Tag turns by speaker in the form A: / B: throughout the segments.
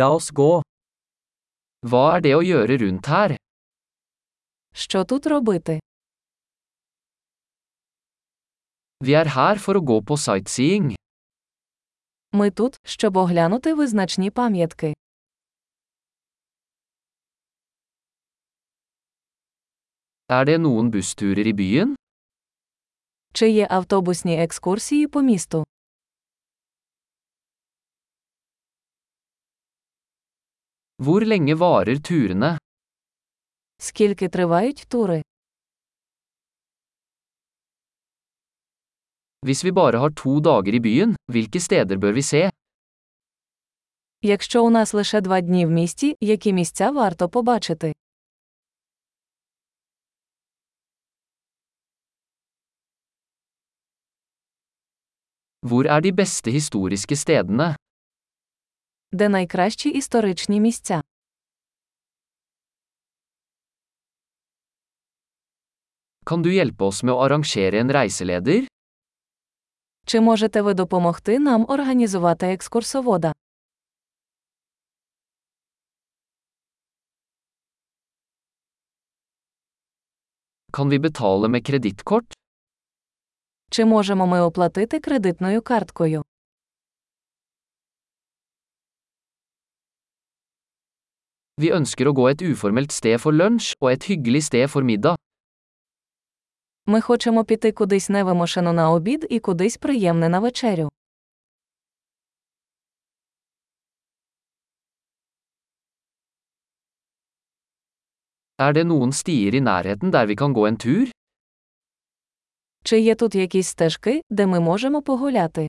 A: La oss gå. Hva er det å gjøre rundt her?
B: Що тут робити?
A: Vi er her for å gå på sightseeing.
B: Ми тут, щоб оглянути визначні пам'ятки.
A: Er det noen bussturer i byen?
B: Чи є автобусні екскурсії по місту?
A: Hvor lenge varer turene?
B: Скільки тривають тури?
A: Hvis vi bare har to dager i byen, hvilke steder bør vi se?
B: Якщо у нас лише два дні в місті, які місця варто побачити?
A: Hvor er de beste historiske stedene?
B: Де найкращі історичні місця?
A: Kan du hjelpe oss med å arrangere en reiseleder?
B: Чи можете ви допомогти нам організувати екскурсовода?
A: Kan vi betale med kredittkort?
B: Чи можемо ми оплатити кредитною карткою?
A: Vi ønsker å gå et uformelt sted for lunsj og et hyggelig sted for middag.
B: Ми хочемо піти кудись невимушено на обід і кудись приємне на вечерю.
A: Er det noen stier i nærheten der vi kan gå en tur?
B: Чи є тут якісь стежки, де ми можемо погуляти?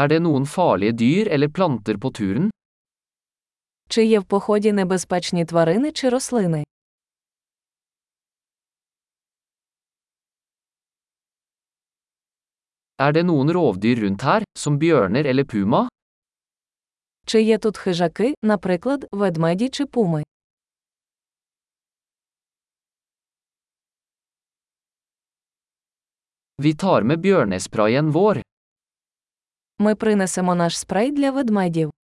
A: Er det noen farlige dyr eller planter på turen?
B: Чи є в поході небезпечні тварини чи рослини?
A: Er det noen rovdyr rundt her, som bjørner eller puma?
B: Чи є тут хижаки, наприклад, ведмеді чи пуми?
A: Vi tar med bjørnesprayen vår.
B: Ми принесемо наш спрей для ведмедів.